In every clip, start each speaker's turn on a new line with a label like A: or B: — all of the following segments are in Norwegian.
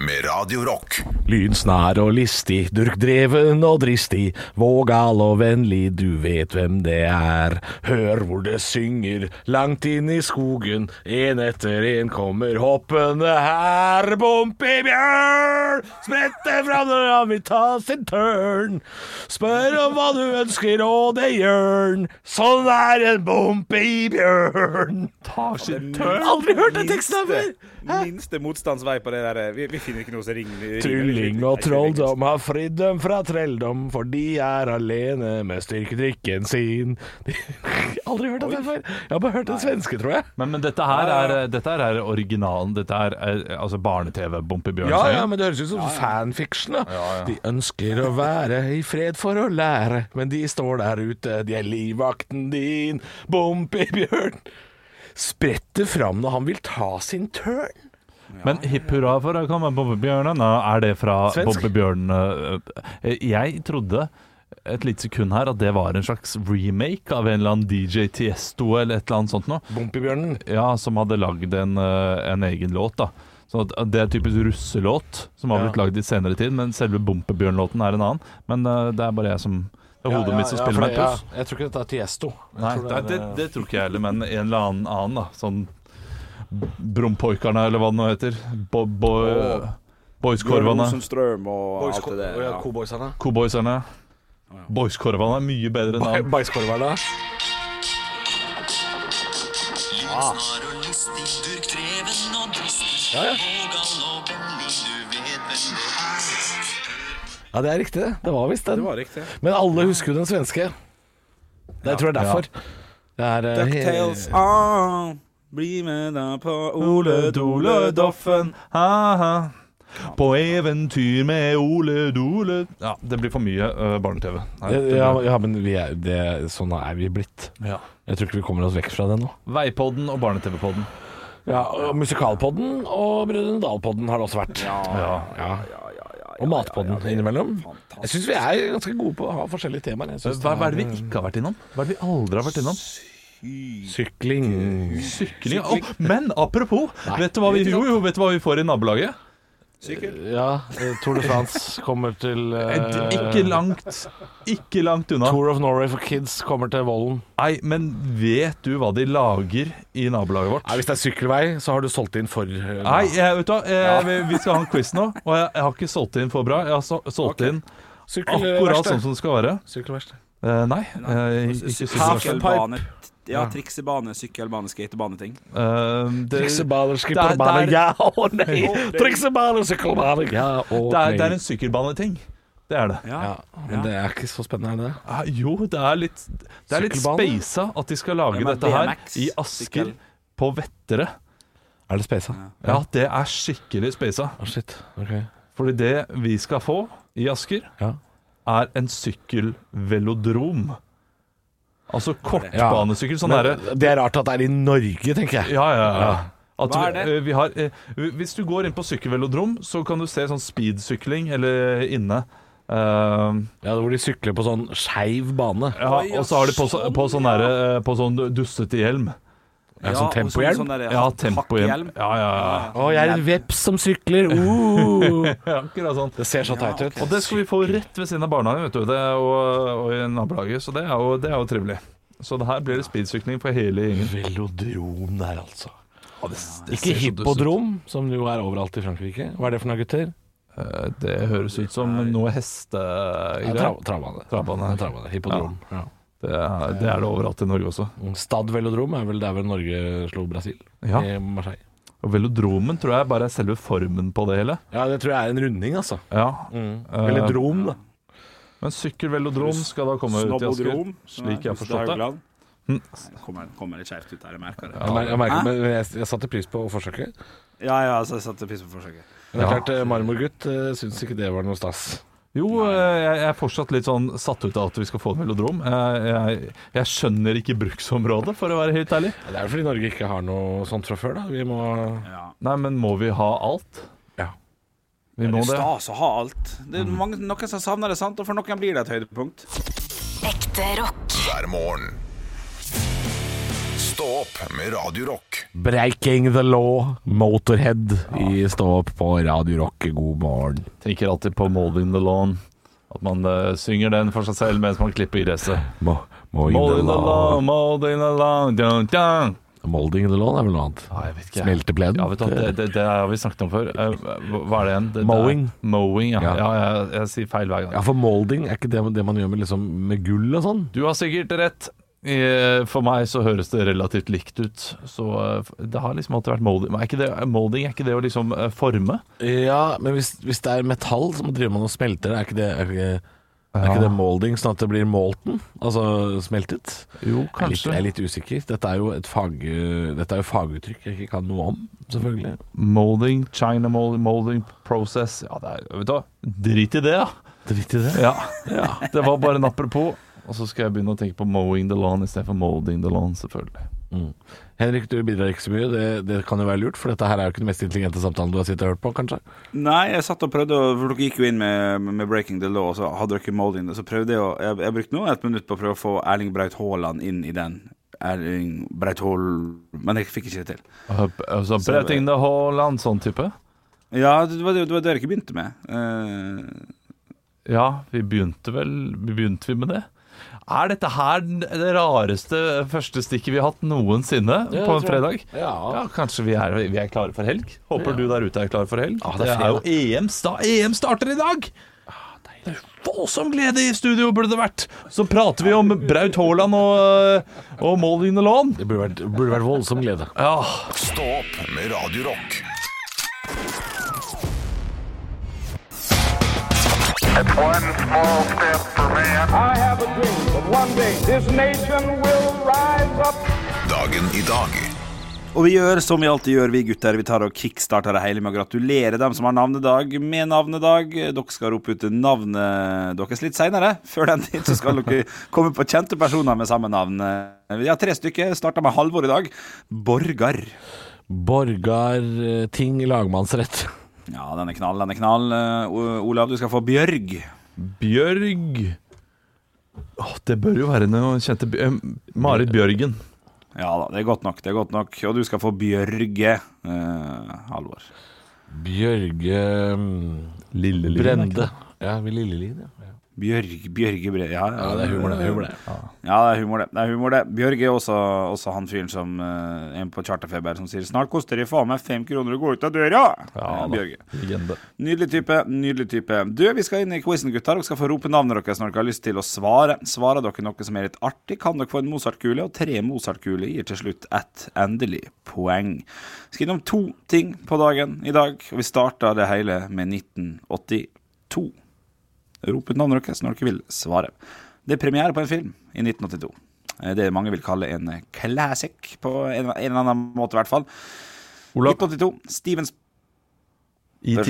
A: med Radio Rock.
B: Lynsnær og listig, durkdreven og dristig, vågal og vennlig, du vet hvem det er. Hør hvor det synger, langt inn i skogen, en etter en kommer hoppende her. Bompibjørn, sprette fram når han vil ta sin tørn. Spør om hva du ønsker, og det gjør han. Sånn er en bompibjørn.
C: Tar sin
B: Aldri hørt den teksten her før!
D: Hæ? Minste motstandsvei på det der eh, Vi, vi finner ikke noe som ringer
B: Trylling og trolldom har fridd dem fra trelldom, for de er alene med styrkedrikken sin. Aldri hørt den før. Jeg har bare hørt den svenske, tror jeg.
C: Men, men dette her er, dette her er originalen. Dette er, er altså barne-TV, Bompebjørn.
B: Ja, ja, men det høres ut som fanfiction. da De ønsker å være i fred for å lære, men de står der ute, de er livvakten din, Bompibjørn. Spretter fram når han vil ta sin tørn.
C: Men hipp hurra for å komme Bompebjørnene, er det fra
B: Svensk.
C: Bompebjørn eh, Jeg trodde et lite sekund her at det var en slags remake av en eller annen DJ Tiesto eller et eller annet sånt noe.
B: Bompibjørnen.
C: Ja, som hadde lagd en, eh, en egen låt, da. Så at det er typisk russelåt som har blitt lagd i senere tid, men selve Bompebjørn-låten er en annen. Men eh, det er bare jeg som Det er hodet mitt som spiller meg et puss.
B: Jeg tror ikke dette er Tiesto.
C: Nei, det, det, det tror ikke jeg heller, men en eller annen annen, da. Sånn Brumpoikarna, eller hva det nå heter. Bo, bo,
D: Åh.
C: Boyskorvene.
D: Rosenstrøm og alt det der. Ja.
B: Cowboyserne.
C: Cowboyserne. Boyskorvene er mye bedre navn.
B: Bæsjkorverne.
E: Snar og listig, durkdreven og dristig.
B: Ja, ja.
E: Vågal og vennlig, du vet hvem det er.
B: Ja, det er riktig. det. Det var visst den.
D: Det var riktig.
B: Men alle husker jo den svenske. Det jeg tror jeg er derfor. Det er eh,
D: Ducktails. Ah, bli med da på
C: Ole Dole Doffen, ha-ha. På eventyr med Ole Dole Ja, det blir for mye eh, barne-TV. Nei,
B: he-
C: det-
B: ja, ja, men vi er, det, sånn er vi blitt.
C: ja.
B: Jeg tror ikke vi kommer oss vekk fra det nå.
C: Veipodden og barne-TV-podden.
B: Ja, og Musikalpodden og Brødrene Dal-podden har det også vært.
C: Ja.
B: Og Matpodden innimellom. Jeg syns vi er ganske gode på å ha forskjellige temaer. Jeg synes
C: Hva, hva er det vi ikke har vært innom? Hva er det vi aldri har vært innom?
B: eh, Sykling
C: Sykling. Å, men apropos, vet du, hva vi, jo, jo, vet du hva vi får i nabolaget?
D: Sykkel.
B: Ja, eh, Tour de France kommer til eh,
C: Et- Ikke langt Ikke langt unna.
B: Tour of Norway for Kids kommer til Vollen.
C: Nei, men vet du hva de lager i nabolaget vårt?
B: Nei, hvis det er sykkelvei, så har du solgt inn for eh,
C: Nei, jeg, vet du hva, eh, vi, vi skal ha en quiz nå, og jeg, jeg har ikke solgt det inn for bra. Jeg har so- solgt det inn akkurat sånn som det skal være.
B: Sykkelverksted.
C: Eh, nei, eh, ikke sånn.
D: Sykkelbane. Ja, triksebane, sykkelbane, skatebane, ting.
C: Eh, det, det,
B: Triksebaner,
C: skipperbane,
B: skipperbaner, ja og nei. Triksebaner, sykkelbaner, ja og nei.
C: er, det er en sykkelbaneting. Det er det.
B: ja, men det er ikke så spennende, er det?
C: Eh, jo, det er litt Det er litt
B: Sykkelbane?
C: speisa at de skal lage
D: Ja, men
C: dette her
D: BMX,
C: i Asker,
D: sykkel.
C: på Vettere.
B: Er det speisa?
C: Ja, det er skikkelig speisa.
B: Å, shit. Ok.
C: Fordi det vi skal få i Asker,
B: Ja.
C: er en sykkelvelodrom. Altså kortbanesykkel. Sånn derre
B: Men det er rart at det er i Norge, tenker jeg.
C: Ja, ja, ja. At
D: Hva er
C: vi-
D: det?
C: eh, Vi har, eh, hvis du går inn på sykkelvelodrom, så kan du se sånn speedsykling eller inne. Eh,
B: Ja, Hvor de sykler på sånn skeiv bane.
C: ja, og så har de på, så- på sånn derre, eh, På sånn dustete hjelm.
B: Ja, sånn tempohjelm?
C: Ja, tempohjelm. Ja, ja, ja.
B: Å, jeg er en veps som sykler! Uh.
C: ja. Akkurat sånn.
B: Det ser så teit ut.
C: Og det skal vi få rett ved siden av barnehagen vet du, det er, og, og i nabolaget, så det er jo, det er jo trivelig. Så det her blir det speedsykling for hele gjengen.
B: Velodrom der, altså.
C: Ja, det- det
B: Ikke
C: ser så dust ut.
B: hippodrom, som jo er overalt i Frankrike. Hva er det for noe, gutter?
C: Eh, Det høres ut som noe
B: Ja,
C: hestegreier.
B: tra- Travbane.
C: Travbane.
B: Travbane. Hippodrom. Ja.
C: Det, er- det er det overalt i Norge også.
B: Stad Velodrom er vel der hvor Norge slo Brasil.
C: Ja.
B: I Marseille.
C: Og velodromen tror jeg bare er selve formen på det hele.
B: Ja, det tror jeg er en runding, altså.
C: Ja. Eh,
B: Velodrom, da.
C: Men sykkelvelodrom skal da komme ut i Asker.
D: Snobodrom.
C: Slik jeg har forstått det. Hm.
D: Kommer, kommer litt skjevt ut her, jeg merker det.
B: Jeg, mer, jeg,
C: Ah.
B: merker, men jeg, jeg satte pris på forsøket.
D: Ja, ja, altså, jeg satte pris på forsøket.
B: Men det er klart, eh, Marmorgutt eh, syns ikke det var noe stas.
C: Jo, eh, jeg jeg er fortsatt litt sånn satt ut av at vi skal få en velodrom. Jeg, jeg, jeg skjønner ikke bruksområdet, for å være helt ærlig.
B: Ja, Det er jo fordi Norge ikke har noe sånt fra før, da. Vi må
D: Ja.
C: Nei, men må vi ha alt?
B: Ja.
C: Vi
D: Det
C: må
D: er
C: det.
D: stas å ha alt. Det er mange, noen som savner det, sant? og for noen blir det et høydepunkt.
F: Ekte rock.
A: Hver morgen. Stå opp med Radio Rock.
B: Breaking the law, Motorhead i Stå opp på Radio Rock. God morgen.
C: Tenker alltid på Molding the Lawn. At man eh, synger den for seg selv mens man klipper gresset.
B: Mo Molding,
C: Molding
B: the
C: the
B: law.
C: lawn, molding the lawn, dun, dun.
B: Molding the law er vel noe annet?
C: Ja, jeg vet ikke.
B: Smeltepleden?
C: Ja, vet du, hva, det, det, det har vi snakket om før. Eh, Hva hva er det igjen? Det, det er-
B: Mowing.
C: mowing, ja.
B: Ja.
C: ja. jeg, jeg sier feil hver
B: Ja,
C: gang.
B: for molding er ikke det, det man gjør med, liksom, med gull og sånn?
C: Du har sikkert rett. Eh, For meg så høres det relativt likt ut. Så eh, det har liksom alltid vært molding. Men er ikke det, molding er ikke det å liksom eh, forme?
B: Ja, men hvis, hvis det er metall, så driver man og smelter det. Er ikke det, er ikke, er ikke det molding, sånn at det blir molten? Altså smeltet? Jeg er,
C: Jo,
B: litt,
C: kanskje.
B: jeg er litt usikker. Dette er jo et fag, dette er jo faguttrykk jeg ikke kan noe om, selvfølgelig.
C: Molding, China molding, molding process Ja, det er, vet du hva, drit i det, da.
B: Drit i det.
C: Ja. Det var bare en apropos. Og så skal jeg begynne å tenke på mowing the lawn istedenfor molding the lawn, selvfølgelig.
B: Henrik, du bidrar ikke så mye. Det, det kan jo være lurt, for dette her er jo ikke den mest intelligente samtalen du har sittet og hørt på, kanskje.
D: Nei, jeg satt og prøvde å- For dere gikk jo inn med, med 'Breaking the Law', og så hadde dere Molding. og Så prøvde jeg å Jeg, jeg brukte nå et minutt på å prøve å få Erling Braut Haaland inn i den. Erling Braut Haal Men jeg fikk ikke det til.
C: Uh, Altså, Breting the Haaland, sånn type.
D: Ja, det var det, det, var det dere begynte med. Eh,
C: Ja, vi begynte vel Begynte vi med det? Er dette her den- det rareste første stikket vi har hatt noensinne
B: Ja,
C: på en
B: jeg tror
C: fredag?
B: Ja.
C: Kanskje vi er, vi er klare for helg? Håper du der ute er klar for helg?
B: Ja, det
C: det,
B: er
C: er jo EM, sta EM starter i dag! Det er Voldsom glede i studio burde det vært! Så prater vi om Braut Haaland og, eh, og mål in the lawn.
B: Det burde vært, burde vært voldsom glede.
C: Ja,
A: Stå opp med Radio Rock.
G: One small step for man.
H: I have a dream that one day this nation will rise up.
A: Dagen i dag.
D: og vi gjør som vi alltid gjør, vi gutter. Vi tar og kickstarter det hele med å gratulere dem som har navnedag, med navnedag. Dere skal rope ut navnet deres litt seinere. Før den tid så skal dere komme på kjente personer med samme navn. Vi har tre stykker. Starta med Halvor i dag. Borgar.
B: Borgar eh, Ting lagmannsrett.
D: Ja, den er knall, den er knall. Eh, O- Olav, du skal få Bjørg.
C: Bjørg Åh, Det bør jo være noen kjente Bj- eh, Marit Bjørgen.
D: Ja da, det er godt nok, det er godt nok. Og du skal få Bjørge. eh, Halvor.
B: Bjørge mm,
C: Lillelien,
B: Brende. Ja, ved Lillelien, ja.
D: Bjørg, Bjørge Bre... Ja, ja,
B: ja. Det er humor, det. er humor, det.
D: Ja, det er humor, det. det, er humor, det. Bjørg er også, også han fyren som eh, en på charterfeber som sier 'Snart koster det faen meg fem kroner å gå ut av døra'.
C: Ja,
D: Eh,
C: da.
D: Bjørge.
C: Legende.
D: Nydelig type. Nydelig type. Du, vi skal inn i quizen, gutter. Dere skal få rope navnet deres når dere har lyst til å svare. Svarer dere noe som er litt artig, kan dere få en Mozart-kule, og tre Mozart-kuler gir til slutt ett endelig poeng. Vi skal innom to ting på dagen i dag, og vi starter det hele med 1982. Rop ut navnet deres når dere vil svare. Det er premiere på en film i 1982. Eh, Det mange vil kalle en classic, på en, en eller annen måte i hvert fall.
C: Olav, E
D: 1982. Steven
C: ET.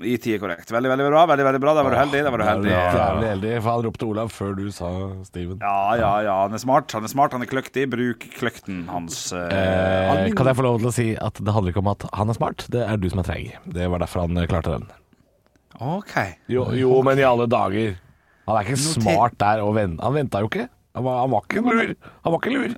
D: IT er korrekt. Veldig, veldig bra. veldig, veldig bra. Der var du heldig. Der var du heldig.
B: Jævlig heldig, for han ropte Olav før du sa Steven.
D: Ja, ja, ja. Han er smart, han er smart, han er kløktig. Bruk kløkten hans. eh,
B: Eh, kan jeg få lov til å si at det handler ikke om at han er smart, det er du som er treig. Det var derfor han eh, klarte den.
D: OK.
B: Jo, jo, men i alle dager. Han er ikke
D: Noter-
B: smart der og vent. Han venta jo ikke. Han var, han var ikke en lur. Han var ikke lur.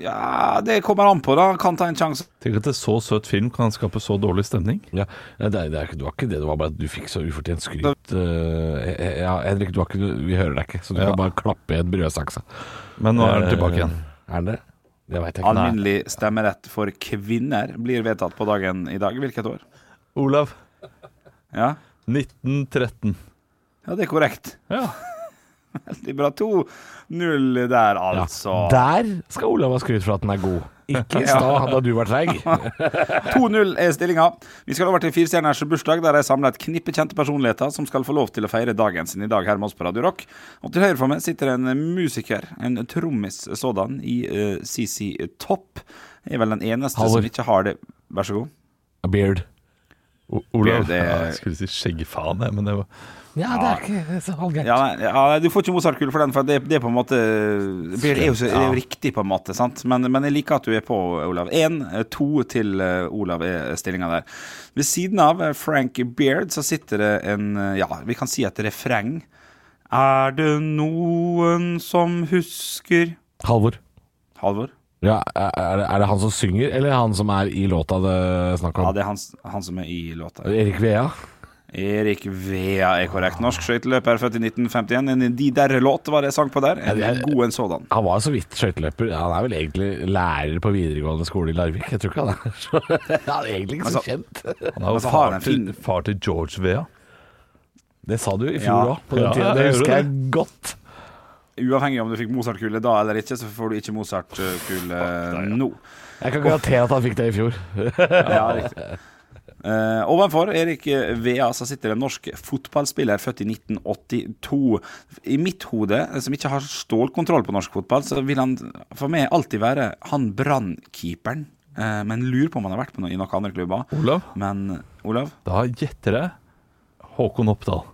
D: Ja, det kommer an på, da. Han kan ta en sjanse.
C: Tenk at en så søt film kan skape så dårlig stemning.
B: Ja, det, er- det, er ikke- det var ikke det, det var bare at du fikk så ufortjent skryt. eh, eh, ja, Henrik, du har ikke, du- vi hører deg ikke, så du
C: Ja.
B: kan bare klappe i en brødsakse.
C: Men nå er den tilbake igjen.
B: Eh, Er den det? Det veit jeg ikke.
D: Alminnelig stemmerett for kvinner blir vedtatt på dagen i dag. Hvilket år?
C: Olav,
D: Ja,
C: 1913.
D: ja det er korrekt.
C: Ja.
D: Veldig bra. 2-0 der, altså.
B: Der skal Olav ha skryt for at den er god. Ikke i stad, da du var treig.
D: 2-0 er stillinga. Vi skal over til firestjerners bursdag, der jeg samler et knippe kjente personligheter som skal få lov til å feire dagen sin i dag her med oss på Radio Rock. Og til høyre for meg sitter en musiker, en trommis sådan, i eh, CC Topp. Jeg er vel den eneste
B: Halvor.
D: som ikke har det. Vær så god.
B: A Beard.
C: O Olav.
D: Det- det-
C: Ja, jeg skulle si skjeggfaen, jeg, men det var
B: Ja, det er ikke så halvgærent.
D: Ja, nei, ja, Du får ikke Mozart-kule for den, for det, det er på en måte Det er jo, så- det er jo riktig, på en måte. sant? Men, men jeg liker at du er på, Olav. Én, eh, to til eh, Olav er stillinga der. Ved siden av eh, Frank Beard så sitter det en eh, Ja, vi kan si et refreng. Er det noen som husker
B: Halvor.
D: Halvor?
B: Ja, er, det, er det han som synger, eller han som er i låta det er snakk
D: Ja,
B: om?
D: det er han, s- han som er i låta.
B: Erik Vea?
D: Erik Vea er korrekt. Norsk skøyteløper, født i 1951. En De derre-låt var det jeg sang på der. En
B: Ja, det er-
D: god en sådan.
B: Han var så vidt skøyteløper. Han er vel egentlig lærer på videregående skole i Larvik. Jeg tror ikke han er så Han er egentlig ikke så
D: Altså-
B: kjent.
C: Han er jo
D: Altså, har
C: far,
D: han en
C: til,
D: fin-
C: far til George Vea.
B: Det sa du i
D: Ja.
B: fjor òg, på den
C: Ja,
B: tida.
C: jeg
B: Det
C: gjorde
B: husker
C: det.
B: jeg godt.
D: Uavhengig om du fikk Mozart-kule da eller ikke, så får du ikke Mozart-kule nå.
B: Jeg kan garantere at han fikk det i fjor.
D: Ja, riktig. Eh, ovenfor Erik Vea så sitter en norsk fotballspiller født i 1982. I mitt hode, som ikke har stålkontroll på norsk fotball, så vil han for meg alltid være han brannkeeperen. Eh, men lurer på om han har vært på noe, i noen andre klubber.
C: Olav?
D: Men Olav?
C: Da gjetter jeg Håkon Oppdal.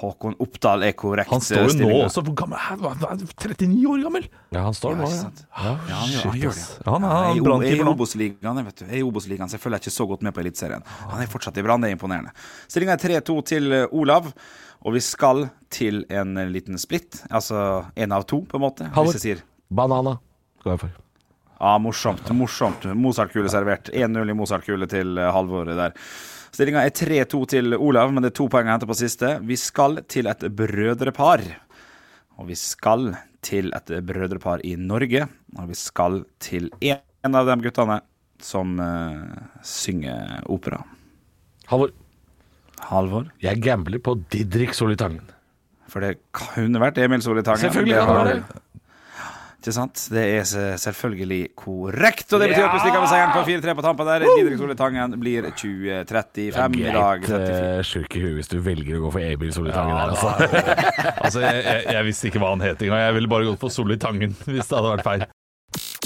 D: Håkon Oppdal er korrekt.
C: Han står jo nå
D: stillinga.
C: også Hvor gammel er han? Han er 39 år gammel!
B: Ja, han står
D: Ja,
B: nå,
D: ikke
B: ja.
D: sant? Ja, han gjør, han gjør det.
C: Ja, han er- han er
D: Jeg er i O- jeg er
C: brannkeeper
D: i
C: nå.
D: Obos-ligaen, jeg, vet du. Jeg er i Obos-ligaen, så jeg følger ikke så godt med på Eliteserien. Han er fortsatt i Brann, det er imponerende. Stillinga er 3-2 til eh, Olav, og vi skal til en eh, liten splitt. Altså én av to, på en måte.
B: Halvor.
D: Hvis jeg sier
B: Banana går jeg for.
D: Ja, morsomt, morsomt. Mozartkule servert. 1-0 i Mozartkule til eh, Halvor der. Stillinga er 3-2 til Olav, men det er to poeng å hente på siste. Vi skal til et brødrepar. Og vi skal til et brødrepar i Norge. Og vi skal til en av de guttene som eh, synger opera.
B: Halvor,
D: Halvor?
B: jeg gambler på Didrik Solitangen.
D: For det kunne vært Emil Solli Tangen.
B: Selvfølgelig kan det være det.
D: Ikke sant? Det er se- selvfølgelig korrekt, og det betyr at du stikker med seieren på 4-3 på tampen der. Didrik Solli Tangen blir 20-35 i dag.
B: Greit
D: 34.
B: eh, sjuk i huet hvis du velger å gå for Emil Solitangen der, altså.
C: Altså, jeg, jeg, jeg visste ikke hva han het engang. Jeg ville bare gått for Solli Tangen hvis det hadde vært feil.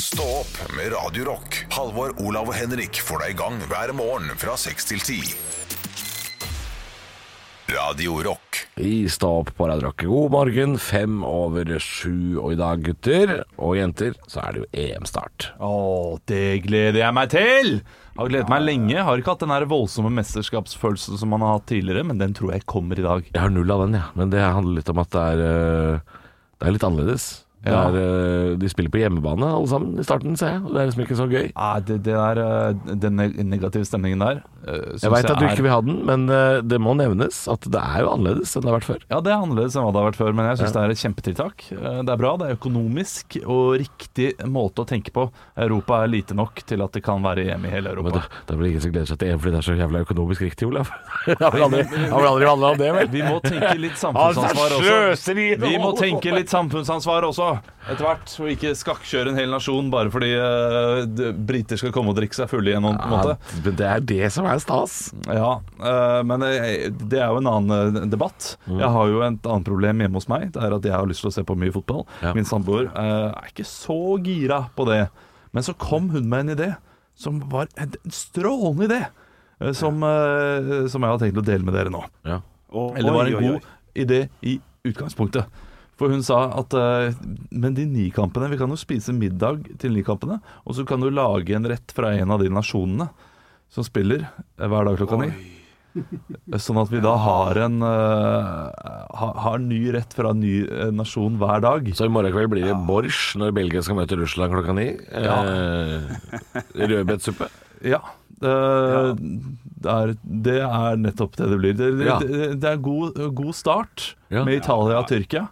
A: Stå opp med Radio Rock. Halvor, Olav og Henrik får deg i gang hver morgen fra 6 til 10. Radio Rock.
B: I Stå opp på Radio Rock. God morgen, fem over sju. Og i dag, gutter og jenter, så er det jo EM-start.
C: Å, det gleder jeg meg til! Har gledet meg lenge. Har ikke hatt den her voldsomme mesterskapsfølelsen som man har hatt tidligere, men den tror jeg kommer i dag.
B: Jeg har null av den, ja. Men det handler litt om at det er, øh, det er litt annerledes. Det
C: Ja.
B: er, øh, de spiller på hjemmebane alle sammen i starten, ser jeg. og Det er liksom ikke så gøy.
C: Nei, det, det er, eh, den neg- negative stemningen der
B: Jeg
C: eh, synes
B: veit at du
C: er-
B: ikke vil ha den, men øh, det må nevnes at det er jo annerledes enn det har vært før.
C: Ja, det er annerledes enn hva det har vært før, men jeg syns det er et kjempetiltak. Eh, Det er bra, det er økonomisk og riktig måte å tenke på. Europa er lite nok til at det kan være EM i hele
B: Men det,
C: Europa.
B: det er vel ingen som gleder seg til EM fordi det er så jævla økonomisk riktig, Olav? Det har vel aldri, det har vel aldri handla om det, vel?
C: Vi må tenke litt
B: Altså,
C: samfunnsansvar også. Vi må tenke litt samfunnsansvar også, etter hvert. Og ikke skakkjøre en hel nasjon bare fordi eh, d- briter skal komme og drikke seg fulle igjen. på en måte.
B: Ja, men det er det som er stas.
C: Ja, eh, men det det er jo en annen eh, debatt.
B: Mm.
C: Jeg har jo et annet problem hjemme hos meg. Det er at jeg har lyst til å se på mye fotball.
B: Ja.
C: Min samboer eh, er ikke så gira på det. Men så kom hun med en idé som var en en strålende idé. eh, Som, eh, som jeg har tenkt å dele med dere nå.
B: Ja.
D: Oi,
C: Eller var en
D: oi, oi.
C: god idé i utgangspunktet. For hun sa at eh, Men de ni kampene Vi kan jo spise middag til ni kampene, og så kan du lage en rett fra en av de nasjonene som spiller eh, hver dag klokka ni. Sånn at vi da har en eh, ha, Har ny rett fra en ny eh, nasjon hver dag.
B: Så i morgen kveld blir det borsch når Belgia skal møte Russland klokka ni.
C: Ja.
B: Eh, Rødbetsuppe.
C: Ja. eh, Det, er, det er nettopp det det blir. Det, det,
B: Ja.
C: det, det er god, god start
B: Ja.
C: med Italia og Tyrkia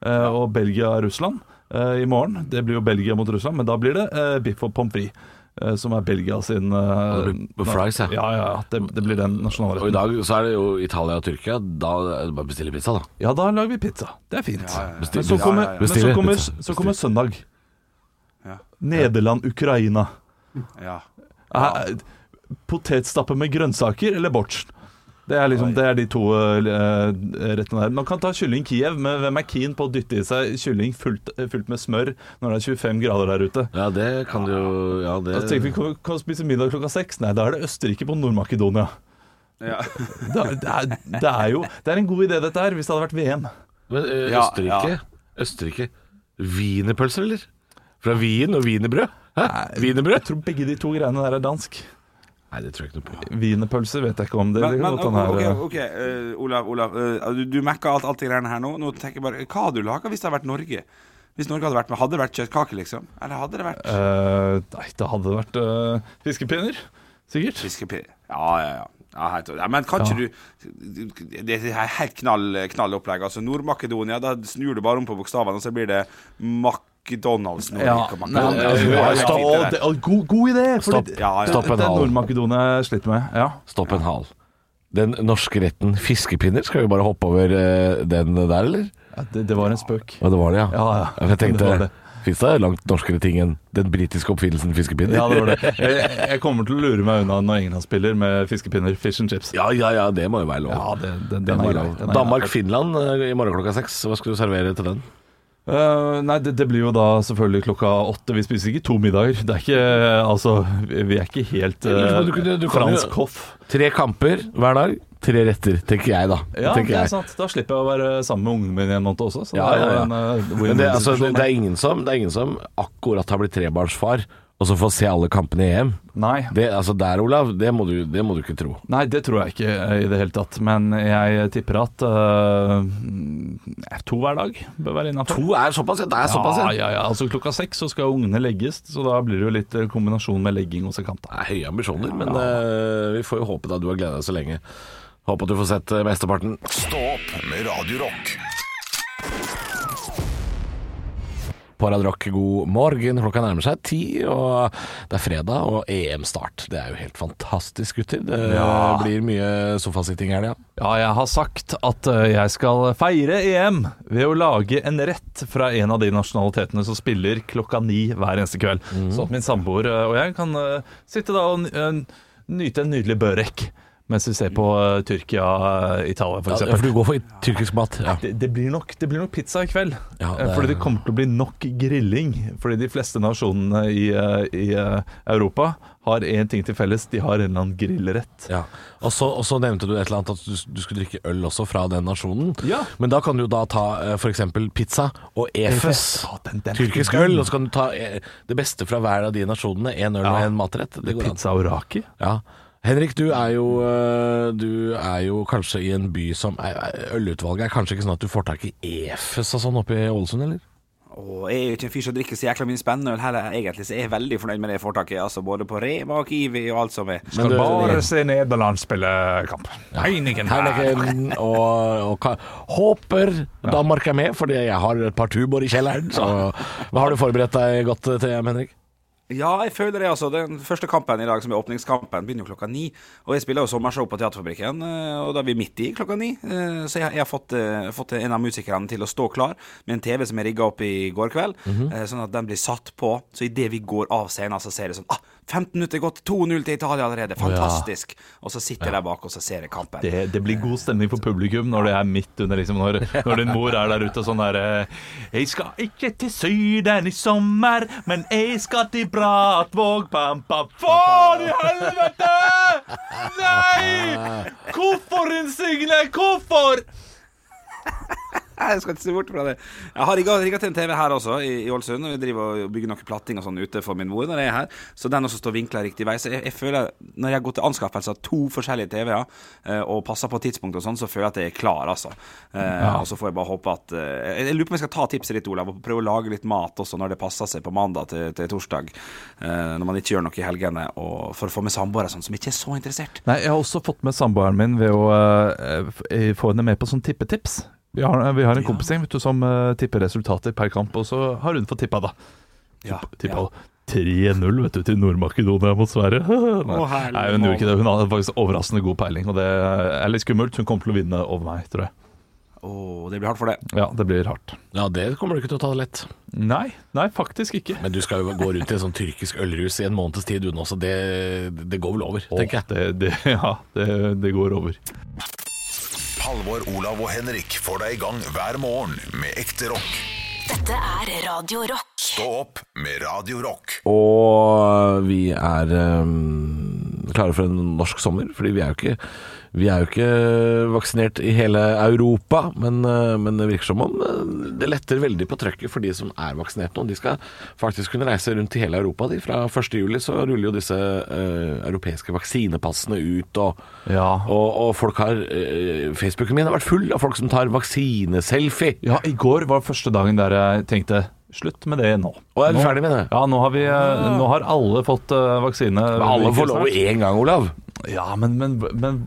C: eh, og Belgia og Russland eh, i morgen. Det blir jo Belgia mot Russland, men da blir det eh, biff og pommes frites. eh, Som er Belgia sin eh,
B: det blir fries, ja.
C: ja, ja, ja, det, det blir den
B: Og i
C: nasjonalretten.
B: dag så er det jo Italia og Tyrkia. Da er det bare å bestille pizza, da.
C: Ja, da lager vi pizza. Det er fint. Men så
B: Bestill-
C: kommer,
D: Ja, ja, ja.
C: Men så
B: Bestiller
C: kommer,
B: pizza.
C: så kommer søndag.
D: Ja.
C: Nederland-Ukraina.
D: Ja.
C: Eh, Potetstappe med grønnsaker eller bortsen? Det er, liksom, det er de to eh, rettene der. Man kan ta kylling Kiev, men hvem er keen på å dytte i seg kylling fullt, fullt med smør når det er 25 grader der ute?
B: Ja, det kan du jo Ja, det
C: Så tenker vi kan, kan vi spise middag klokka seks. Nei, da er det Østerrike på Nord-Makedonia.
D: Ja.
C: Det, er- det, er- det er jo Det er en god idé, dette her, hvis det hadde vært VM.
B: Men ø,
D: Ja,
B: Østerrike
D: ja.
B: Østerrike Wienerpølser, eller? Fra Wien og wienerbrød? Hæ?
C: Jeg
B: Wienerbrød?
C: tror begge de to greiene der er dansk.
B: Nei, det tror jeg ikke noe på.
C: Wienerpølse vet jeg ikke om. Det,
D: Men,
C: det
D: men
C: kan godt hende
D: ok,
C: er-
D: ok, eh, Olav, Olav eh, du, du mekka alt, alt det greiene her nå. Nå tenker jeg bare Hva hadde du laga hvis det hadde vært Norge? Hvis Norge hadde vært med, hadde det vært kjøttkake, liksom? Eller hadde det vært
C: Eh, nei, det hadde det vært eh, fiskepinner. Sikkert.
D: fiskepinner? Ja, ja, ja. Ja, helt, ja, men kan ikke
C: Ja.
D: du Det er helt knall, knall opplegg. Altså, Nord-Makedonia, da snur du bare om på bokstavene, og så blir det McDonald's.
C: Ja,
D: Norge,
C: nei,
D: McDonald's.
C: ja,
D: Det er
C: stopp.
D: fint, det der.
C: Å, god, god idé!
B: Stopp,
C: fordi-
D: Ja, ja.
B: stopp en
C: Dette er
B: hal.
C: Nord-Makedonia slitt med. Ja.
B: Stopp en hal. Den norske retten fiskepinner, skal vi bare hoppe over eh, den der, eller?
C: Ja, det, det var en spøk.
B: Ja, det var det, ja.
C: Ja, ja.
B: for Jeg
C: Det var
B: tenkte,
C: det.
B: fins det langt norskere ting enn den britiske oppfinnelsen fiskepinner?
C: Ja, det var det. Jeg, jeg kommer til å lure meg unna når England spiller med fiskepinner, fish and chips.
B: Ja, ja, ja, det må jo være lov.
C: Ja, det,
B: Det
C: den, den
B: må være
C: er grei.
B: lov.
C: Den er grei.
B: Danmark-Finland eh, i morgen klokka seks. Hva skal du servere til den?
C: Eh, nei, det, det blir jo da selvfølgelig klokka åtte. Vi spiser ikke to middager. Det er ikke eh, Altså, vi vi er ikke helt
B: Ja, men
C: eh,
B: du kunne- du kan jo-
C: fransk hoff.
B: Tre kamper hver dag. Tre retter, tenker jeg, da.
C: Ja,
B: tenker
C: det er
B: jeg.
C: sant. Da slipper jeg å være sammen med ungen min i en måned også. Så
B: Ja,
C: det er
B: ja,
C: jo
B: ja.
C: en, eh,
B: Men det, altså, det,
C: win-win-situasjon.
B: det, er ingen som, det er ingen som akkurat har blitt trebarnsfar, og så får se alle kampene i EM.
C: Nei,
B: Det, altså der, Olav, det må, du, det må du ikke tro.
C: Nei, det tror jeg ikke eh, i det hele tatt. Men jeg tipper at eh, to hver dag bør være innafor.
B: To er såpass, ja. Det er såpass,
C: Ja, ja, ja. Altså, klokka seks så skal ungene legges, så da blir det jo litt eh, kombinasjon med legging og sekant.
B: Det er høye ambisjoner, men eh, vi får jo håpe da du har gleda deg så lenge. Håper at du får sett eh, mesteparten.
A: Stå opp med Radio Rock.
B: Paradrock, god morgen. Klokka nærmer seg ti, og det er fredag og EM-start. Det er jo helt fantastisk, gutter. Det
C: Ja.
B: blir mye sofasitting i helga.
C: Ja, jeg har sagt at eh, jeg skal feire EM ved å lage en rett fra en av de nasjonalitetene som spiller klokka ni hver eneste kveld. Sånn at min samboer eh, og jeg kan eh, sitte da og n- eh, nyte en nydelig børek mens vi ser på eh, Tyrkia, eh, Italia for
B: Ja,
C: eksempel.
B: for du går for tyrkisk mat. Ja.
C: Det, det, blir nok, det blir nok pizza i kveld.
B: Ja,
C: Eh,
B: det-
C: Fordi det kommer til å bli nok grilling. Fordi de fleste nasjonene i, eh, i eh, Europa har én ting til felles, de har en eller annen grillrett.
B: Ja. Og, så, og så nevnte du et eller annet at du, du skulle drikke øl også fra den nasjonen.
C: Ja. E
B: Men da kan du jo da ta f.eks. pizza og efes.
C: Ja, den- den er
B: Tyrkisk
C: ikke dum.
B: øl. Og så kan du ta eh, det beste fra hver av de nasjonene. Én øl og
C: Ja.
B: én matrett. Det går an.
C: Pizza og raki?
B: Ja. Henrik, du er, jo, eh, du er jo kanskje i en by som er- er- Ølutvalget er kanskje ikke sånn at du får tak i efes og sånn oppe i Ålesund, eller?
D: Og jeg er jo ikke en fyr som drikker så jækla mye spennende øl heller, egentlig, så jeg er veldig fornøyd med det foretaket. Altså, både på Rema og Kiwi og alt som er.
B: Men du-
C: se Nederland spille kamp. Heineken
B: Heineken og, og ka- håper Danmark er med, fordi jeg har et par tubor i kjelleren. Så hva har du forberedt deg godt til, Henrik?
D: Ja, jeg føler det, altså. Den første kampen i dag, som er åpningskampen, begynner jo klokka ni. Og jeg spiller jo sommershow på Teaterfabrikken, eh, og da er vi midt i klokka ni. Eh, Så jeg, jeg har fått, eh, fått en av musikerne til å stå klar med en TV som jeg rigga opp i går kveld, eh, sånn at den blir satt på. Så idet vi går av scenen, så ser jeg sånn ah, 15 minutter er gått, 2-0 til Italia allerede. Fantastisk. Og så sitter jeg der bak, og så ser jeg kampen.
C: Det, det blir god stemning for publikum når det er midt under, liksom, når, når din mor er der ute og sånn der eh, Jeg skal ikke til Syden i sommer, men jeg skal til Bratvåg, bam, bam. Faen i helvete! Nei! Hvorfor, Insigne? Hvorfor?
D: Nei, Jeg skal ikke se bort fra det. Jeg har rigga, rigga til en TV her også, i, i Ålesund. og Jeg driver og bygger noe platting og sånn ute for min mor når jeg er her. Så den også står vinkla riktig vei. Så jeg, jeg føler, når jeg går til anskaffelse av to forskjellige TV-er, eh, og passer på tidspunkt og sånn, så føler jeg at jeg er klar, altså. Eh, Og så får jeg bare håpe at eh, jeg, jeg lurer på om jeg skal ta tipset ditt, Olav, og prøve å lage litt mat også når det passer seg på mandag til, til torsdag. Eh, når man ikke gjør noe i helgene, og for å få med samboere og sånn, som ikke er så interessert.
C: Nei, jeg har også fått med samboeren min ved å eh, f- eh, få henne med på sånn tippetips. Vi har, vi har en kompisgjeng vet du, som eh, tipper resultater per kamp, og så har hun fått tippa, da.
D: Ja,
C: Tippa 3-0 vet du, til Nord-Makedonia mot Sverige. Nei,
D: herlig
C: nei, hun
D: mål.
C: gjorde ikke det. Hun hadde faktisk overraskende god peiling, og det er litt skummelt. Hun kommer til å vinne over meg, tror jeg.
D: Åh, det blir hardt for det.
C: Ja, det blir hardt.
B: Ja, det kommer du ikke til å ta det lett.
C: Nei, nei, faktisk ikke.
B: Men du skal jo gå rundt i en sånn tyrkisk ølrus i en måneds tid, du nå, så det, det går vel over, tenker jeg.
C: Det, det, ja, det, det går over.
A: Halvor, Olav og Henrik får deg i gang hver morgen med ekte rock.
F: Dette er Radio Rock.
A: Stå opp med Radio Rock.
B: Og vi er ehm, klare for en norsk sommer, fordi vi er jo ikke, vi er jo ikke vaksinert i hele Europa. Men, eh, men det virker som om eh, det letter veldig på trøkket for de som er vaksinert nå. De skal faktisk kunne reise rundt i hele Europa. De. Fra 1.7 så ruller jo disse eh, europeiske vaksinepassene ut. og
C: Ja.
B: og, og folk har eh, Facebooken min har vært full av folk som tar vaksineselfie.
C: Ja, i går var første dagen der jeg tenkte Slutt med det nå.
B: Og er vi
C: Nå-
B: ferdig med det?
C: Ja, nå har, vi, eh, nå har alle fått eh, vaksine.
B: Men Alle får lov én gang, Olav.
C: Ja, men, men, men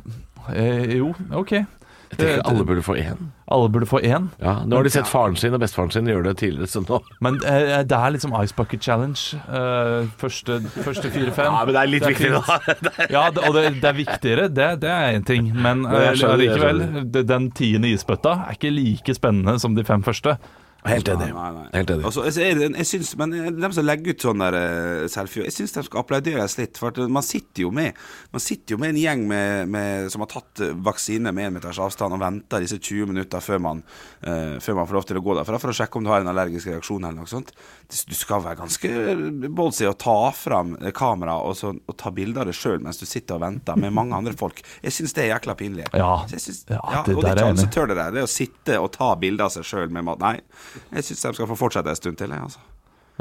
C: eh, Jo, OK. Eh,
B: Jeg tenker at Alle burde få én.
C: Alle burde få én.
B: Ja, nå har de sett faren sin og bestefaren sin gjøre det tidligere, så nå
C: Men eh, det er liksom Ice Bucket Challenge. eh, første første fire-fem.
B: Ja, men det er litt viktig,
C: fint. Ja, det, og det, det er viktigere, det, det er én ting. Men eh,
B: jeg skjønner, jeg
C: allikevel,
B: skjønner.
C: det- den tiende isbøtta er ikke like spennende som de fem første.
B: Helt enig.
D: Nei, nei.
B: Helt enig.
D: Altså, jeg, jeg, jeg syns, men de som legger ut sånn der eh, selfie, jeg syns de skal applauderes litt. For at man sitter jo med Man sitter jo med en gjeng med, med, som har tatt eh, vaksine med en meters avstand, og venter disse 20 minutter før man, eh, før man får lov til å gå derfra for å sjekke om du har en allergisk reaksjon eller noe sånt. Det- Du skal være ganske ballsy og ta fram eh, kamera og, så, og ta bilder av deg sjøl mens du sitter og venter med mange andre folk. Jeg syns det er jækla pinlig.
C: Ja,
D: Så jeg synes,
C: ja,
D: ja,
C: det
D: og det er
C: der er jeg
D: ikke alle
C: enig i.
D: som tør det der. Det å sitte og ta bilder av seg sjøl med mat Nei, jeg syns de skal få fortsette en stund til. Jeg, altså.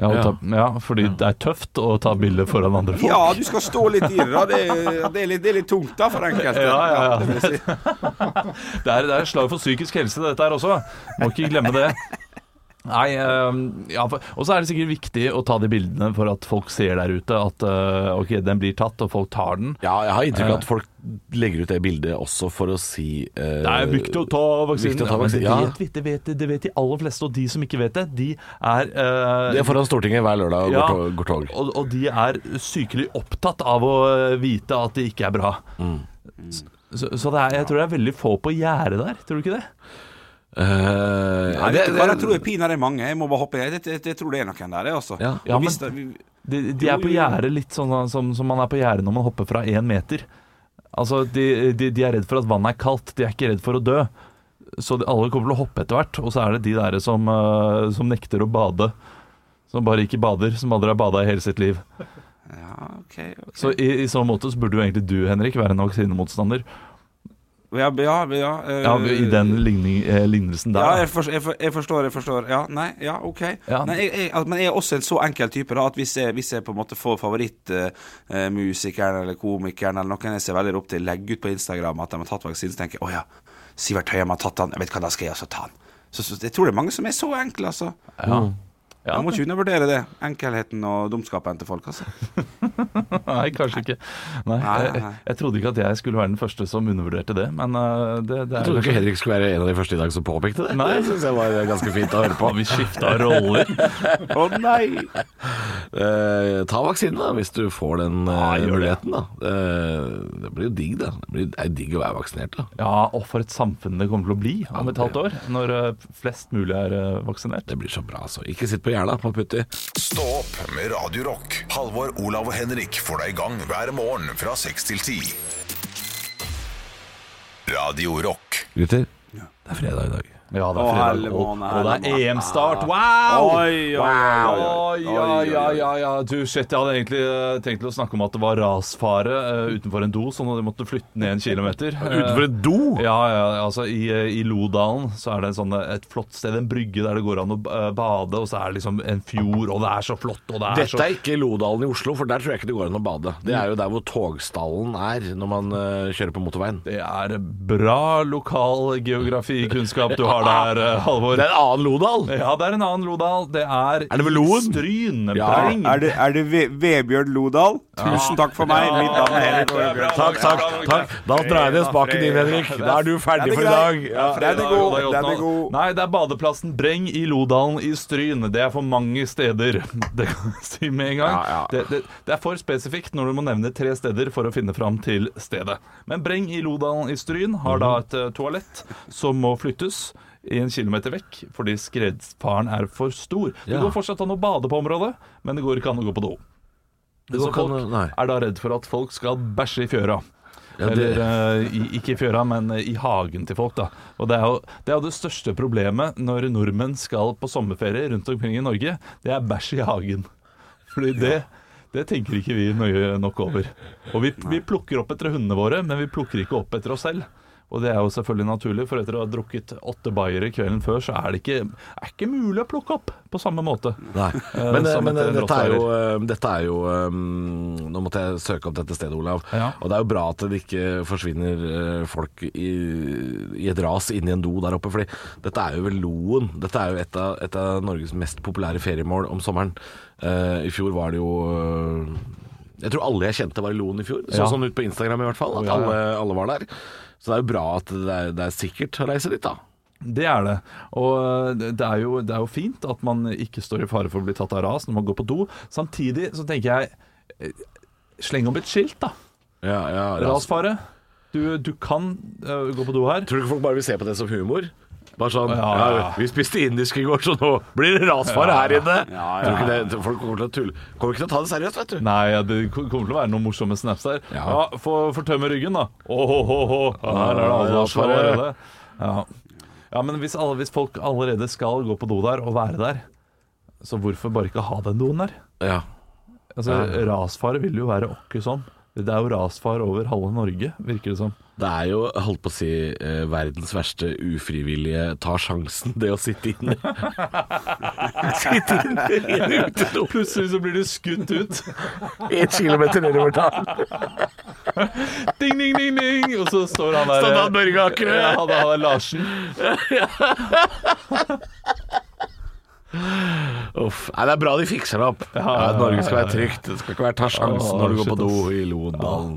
C: Ja, og
B: Ja.
C: Ta, ja, fordi det er tøft å ta bilder foran andre folk.
D: Ja, du skal stå litt i det. da. Det, er- det, er litt- det er litt tungt da for enkelte.
C: Ja, ja, ja.
D: det vil jeg si.
C: Det er, det er et slag for psykisk helse, dette her også. Må ikke glemme det. Nei, eh, ja, for- Og så er det sikkert viktig å ta de bildene for at folk ser der ute at eh, ok, den blir tatt, og folk tar den.
B: Ja, jeg har inntrykk av at folk legger ut det bildet også for å si eh,
C: Det er viktig å ta vaksinen.
B: Viktig å ta vaksinen,
C: Ja, men
B: ja.
C: det, vet vi, det, vet, det vet de aller fleste, og de som ikke vet det, de er eh,
B: Det er foran Stortinget hver lørdag og
C: ja,
B: går tog- går tog.
C: Og, og de er sykelig opptatt av å eh, vite at det ikke er bra.
B: Mm.
C: S- Så, så det er, jeg tror det er veldig få på gjerdet der, tror du ikke det?
B: Eh,
D: Nei,
B: det,
D: vet du hva, jeg tror jeg pinadø er mange. Jeg må bare hoppe Jeg, jeg, jeg tror det er noen der, jeg, altså.
B: Ja,
C: ja,
D: Og hvis
C: men-
D: det- vi-
C: De, de er på gjerdet litt sånn som, som man er på gjerdet når man hopper fra én meter. Altså, de, de, de er redd for at vannet er kaldt, de er ikke redd for å dø. Så de, alle kommer til å hoppe etter hvert, og så er det de der som, eh, som nekter å bade. Som bare ikke bader, som aldri har bada i hele sitt liv.
D: ja, ok, ok.
C: Så i, i så måte så burde jo egentlig du, Henrik, være en vaksinemotstander.
D: Ja, ja, ja, eh,
C: Ja, I den ligning, eh, lignelsen
D: Ja,
C: der.
D: jeg, for, jeg, for, jeg forstår, jeg forstår. Ja, nei, ja, OK.
C: Ja.
D: Nei, jeg, jeg, at- men jeg er også en så enkel type da, at hvis jeg, hvis jeg på en måte får favorittmusikeren eh, eller komikeren eller noen jeg ser veldig opp til, legge ut på Instagram at de har tatt vaksinen, så tenker jeg å ja, Sivert Høyem har tatt den, jeg vet hva, da skal jeg også ta den. Så, så Jeg tror det er mange som er så enkle, altså.
C: Ja. Ja.
D: Man må ikke undervurdere det. Enkelheten og dumskapen til folk, altså.
C: Nei, kanskje ikke. Nei,
D: Nei, nei,
C: jeg,
D: nei.
C: jeg trodde ikke at jeg skulle være den første som undervurderte det, men eh, det, det
B: jeg
C: er
B: trodde ikke Henrik skulle være en av de første i dag som påpekte det.
C: Nei.
B: Det synes jeg var ganske fint å høre på.
C: Har vi skifta roller?
D: Å nei!
B: Eh, ta vaksinen, da, hvis du får den eh,
C: gjør det.
B: muligheten. da Eh, Det blir jo digg, da. Det, blir, det er digg å være vaksinert, da.
C: Ja, og for et samfunn det kommer til å bli om et halvt år, når eh, flest mulig er eh, vaksinert.
B: Det blir så bra, altså. Ikke sitt på gjerdet, på putti.
A: Stå opp med Radio Rock. Halvor, Olav og Henrik får deg i gang hver morgen fra 6 til 10. Radio Rock.
B: Gutter, det er fredag i dag.
C: Ja, det
D: Å,
C: er fredag,
D: helle
C: og,
D: måne,
C: og det
D: helle
C: er
D: måne.
C: EM-start. Wow!
D: Oi, oi, oi, oi,
C: Wow!
D: oi, oi,
C: Ja,
D: oi.
C: ja, ja, ja. Du, shit, jeg hadde egentlig eh, tenkt til å snakke om at det var rasfare eh, utenfor en do, så nå måtte flytte ned en kilometer.
B: Utenfor et do!
C: Ja, ja, altså i, eh, i Lodalen så er det en sånn, eh, et flott sted, en brygge der det går an å eh, bade, og så er det liksom en fjord, og det er så flott, og det er
B: Dette
C: så
B: er ikke Lodalen i Oslo, for der tror jeg ikke det går an å bade. Det er jo der hvor togstallen er når man eh, kjører på motorveien.
C: Det er bra lokal geografikunnskap du har der, eh, Halvor.
B: Det er en annen Lodal!
C: Ja, det er en annen Lodal. Det er
B: Er det ved Loen?
C: Stryn.
B: Ja.
C: Breng.
D: Er det, er det Ve- Vebjørn Lodal? Tusen takk for meg. Mitt navn er Henrik Vebjørn.
B: Takk, takk, takk. Da drar jeg ned spaken din, Henrik. Da er du ferdig for i dag. Ja.
D: Den er god. Den er god.
C: Nei, det er badeplassen Breng i Lodalen i Stryn. Det er for mange steder. Det kan jeg si med en gang.
B: Ja, ja.
C: Det, det, det er for spesifikt når du må nevne tre steder for å finne fram til stedet. Men Breng i Lodalen i Stryn har
B: Mhm.
C: da et eh, toalett som må flyttes. En kilometer vekk, fordi skredfaren er for stor. Det
B: Ja.
C: går fortsatt an å bade på området, men det går ikke an å gå på do.
B: Det
C: Så
B: går ikke an å-
C: folk
B: nei.
C: er da redd for at folk skal bæsje i fjøra.
B: Ja, det-
C: Eller eh, i, ikke i fjøra, men eh, i hagen til folk. da Og det er, jo, det er jo det største problemet når nordmenn skal på sommerferie rundt omkring i Norge. Det er bæsj i hagen. Fordi det, det tenker ikke vi nøye nok over. Og vi, vi plukker opp etter hundene våre, men vi plukker ikke opp etter oss selv. Og det er jo selvfølgelig naturlig, for etter å ha drukket åtte bayere kvelden før, så er det ikke, er ikke mulig å plukke opp på samme måte.
B: Nei.
C: Eh,
B: Men,
C: som
B: men
C: etter en
B: dette er jo,
C: rottweiler.
B: eh, dette er jo eh, Nå måtte jeg søke opp dette stedet, Olav.
C: Ja.
B: Og det er jo bra at det ikke forsvinner eh, folk i, i et ras inni en do der oppe. Fordi dette er jo ved Loen. Dette er jo et av, et av Norges mest populære feriemål om sommeren. Eh, I fjor var det jo eh, Jeg tror alle jeg kjente var i Loen i fjor. Så
C: Ja.
B: sånn ut på Instagram i hvert fall. At
C: ja, ja.
B: alle, alle var der. Så det er jo bra at det er, det er sikkert å reise dit, da.
C: Det er det. Og eh, det det er, jo, det er jo fint at man ikke står i fare for å bli tatt av ras når man går på do. Samtidig så tenker jeg eh, Sleng opp et skilt, da.
B: Ja, ja, ras.
C: Rasfare. Du, du kan eh, gå på do her.
B: Tror du ikke folk bare vil se på det som humor? Bare sånn ja,
C: Ja, ja.
B: Vi spiste indisk i går, så nå blir det rasfare her inne.
D: Ja, ja.
B: Tror du ikke det, folk kommer til å tulle. Kommer ikke til å ta det seriøst, vet du.
C: Nei, ja, det ko- kommer til å være noen morsomme snaps der. Ja,
B: Ja.
C: Få få tømme ryggen, da. Åhåhåhå. Her er det advarsler
B: Ja,
C: allerede. Ja. ja, men hvis, alle, hvis folk allerede skal gå på do der og være der, så hvorfor bare ikke ha den doen der?
B: Ja.
C: Altså, Rasfare vil jo være åkke sånn. Det er jo rasfare over halve Norge, virker det som.
B: Det er jo, jeg holdt på å si, eh, verdens verste ufrivillige ta sjansen, det å sitte inne. sitte inne i en utedo
C: Plutselig så blir du skutt ut.
B: én kilometer nedover dagen.
C: Ding, ding, ding, ding. Og så står han der
B: Sånn at Børge Akerø
C: Ja, han han der Larsen.
B: Uff. Nei, det er bra de fikser det opp. Ja,
C: ja, ja,
B: Norge skal være trygt. Det skal ikke være ta sjansen
C: Å,
B: når du går
C: shit,
B: på do
C: ass.
B: i Lodalen.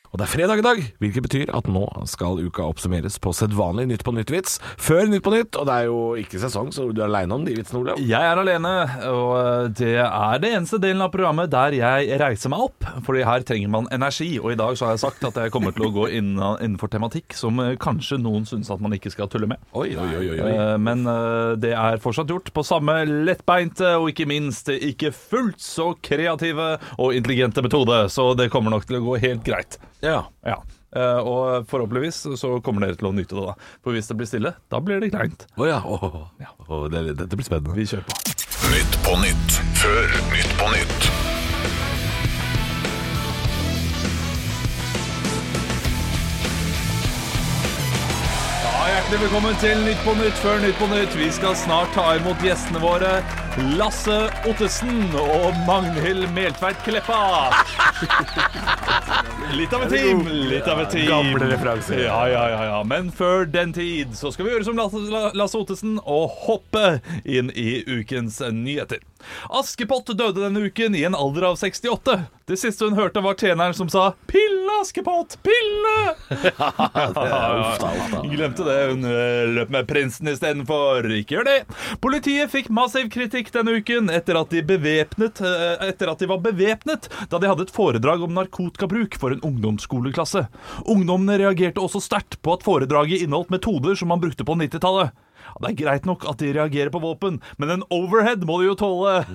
B: Og det er fredag i dag, hvilket betyr at nå skal uka oppsummeres på sedvanlig Nytt på nytt-vits før Nytt på nytt. Og det er jo ikke sesong, så du er aleine om de vitsene, Olav.
C: Jeg er alene, og eh, det er det eneste delen av programmet der jeg reiser meg opp. Fordi her trenger man energi, og i dag så har jeg sagt at jeg kommer til å gå inna- innenfor tematikk som eh, kanskje noen syns at man ikke skal tulle med.
B: Oi, oi, oi, oi, oi.
C: Eh, Men eh, det er fortsatt gjort på samme lettbeinte og ikke minst ikke fullt så kreative og intelligente metode, så det kommer nok til å gå helt greit.
B: Ja.
C: Ja. Eh, Og forhåpentligvis så kommer dere til å nyte det, da. For hvis det blir stille, da blir det kleint.
B: Å ja. Å, å, å. Å, det, dette blir spennende.
C: Vi kjører på.
A: Nytt på nytt før Nytt på nytt.
C: Ja, Hjertelig velkommen til Nytt på Nytt før Nytt på Nytt. Vi skal snart ta imot gjestene våre Lasse Ottesen og Magnhild Meltveit Kleppa. Litt av et team. Litt av et team.
B: Gamle referanser.
C: Ja, ja, ja, ja. Men før den tid så skal vi gjøre som Lasse, La- Lasse Ottesen og hoppe inn i ukens nyheter. Askepott døde denne uken i en alder av 68. Det siste hun hørte, var tjeneren som sa 'Pille, Askepott, pille'. Glemte det. Hun eh, løp med prinsen istedenfor. Ikke gjør det. Politiet fikk massiv kritikk denne uken etter at de, bevæpnet, eh, etter at de var bevæpnet da de hadde et foredrag om narkotikabruk for en ungdomsskoleklasse. Ungdommene reagerte også sterkt på at foredraget inneholdt metoder som man brukte på 90-tallet. Ja, Det er greit nok at de reagerer på våpen, men en overhead må de jo tåle.
B: Ja,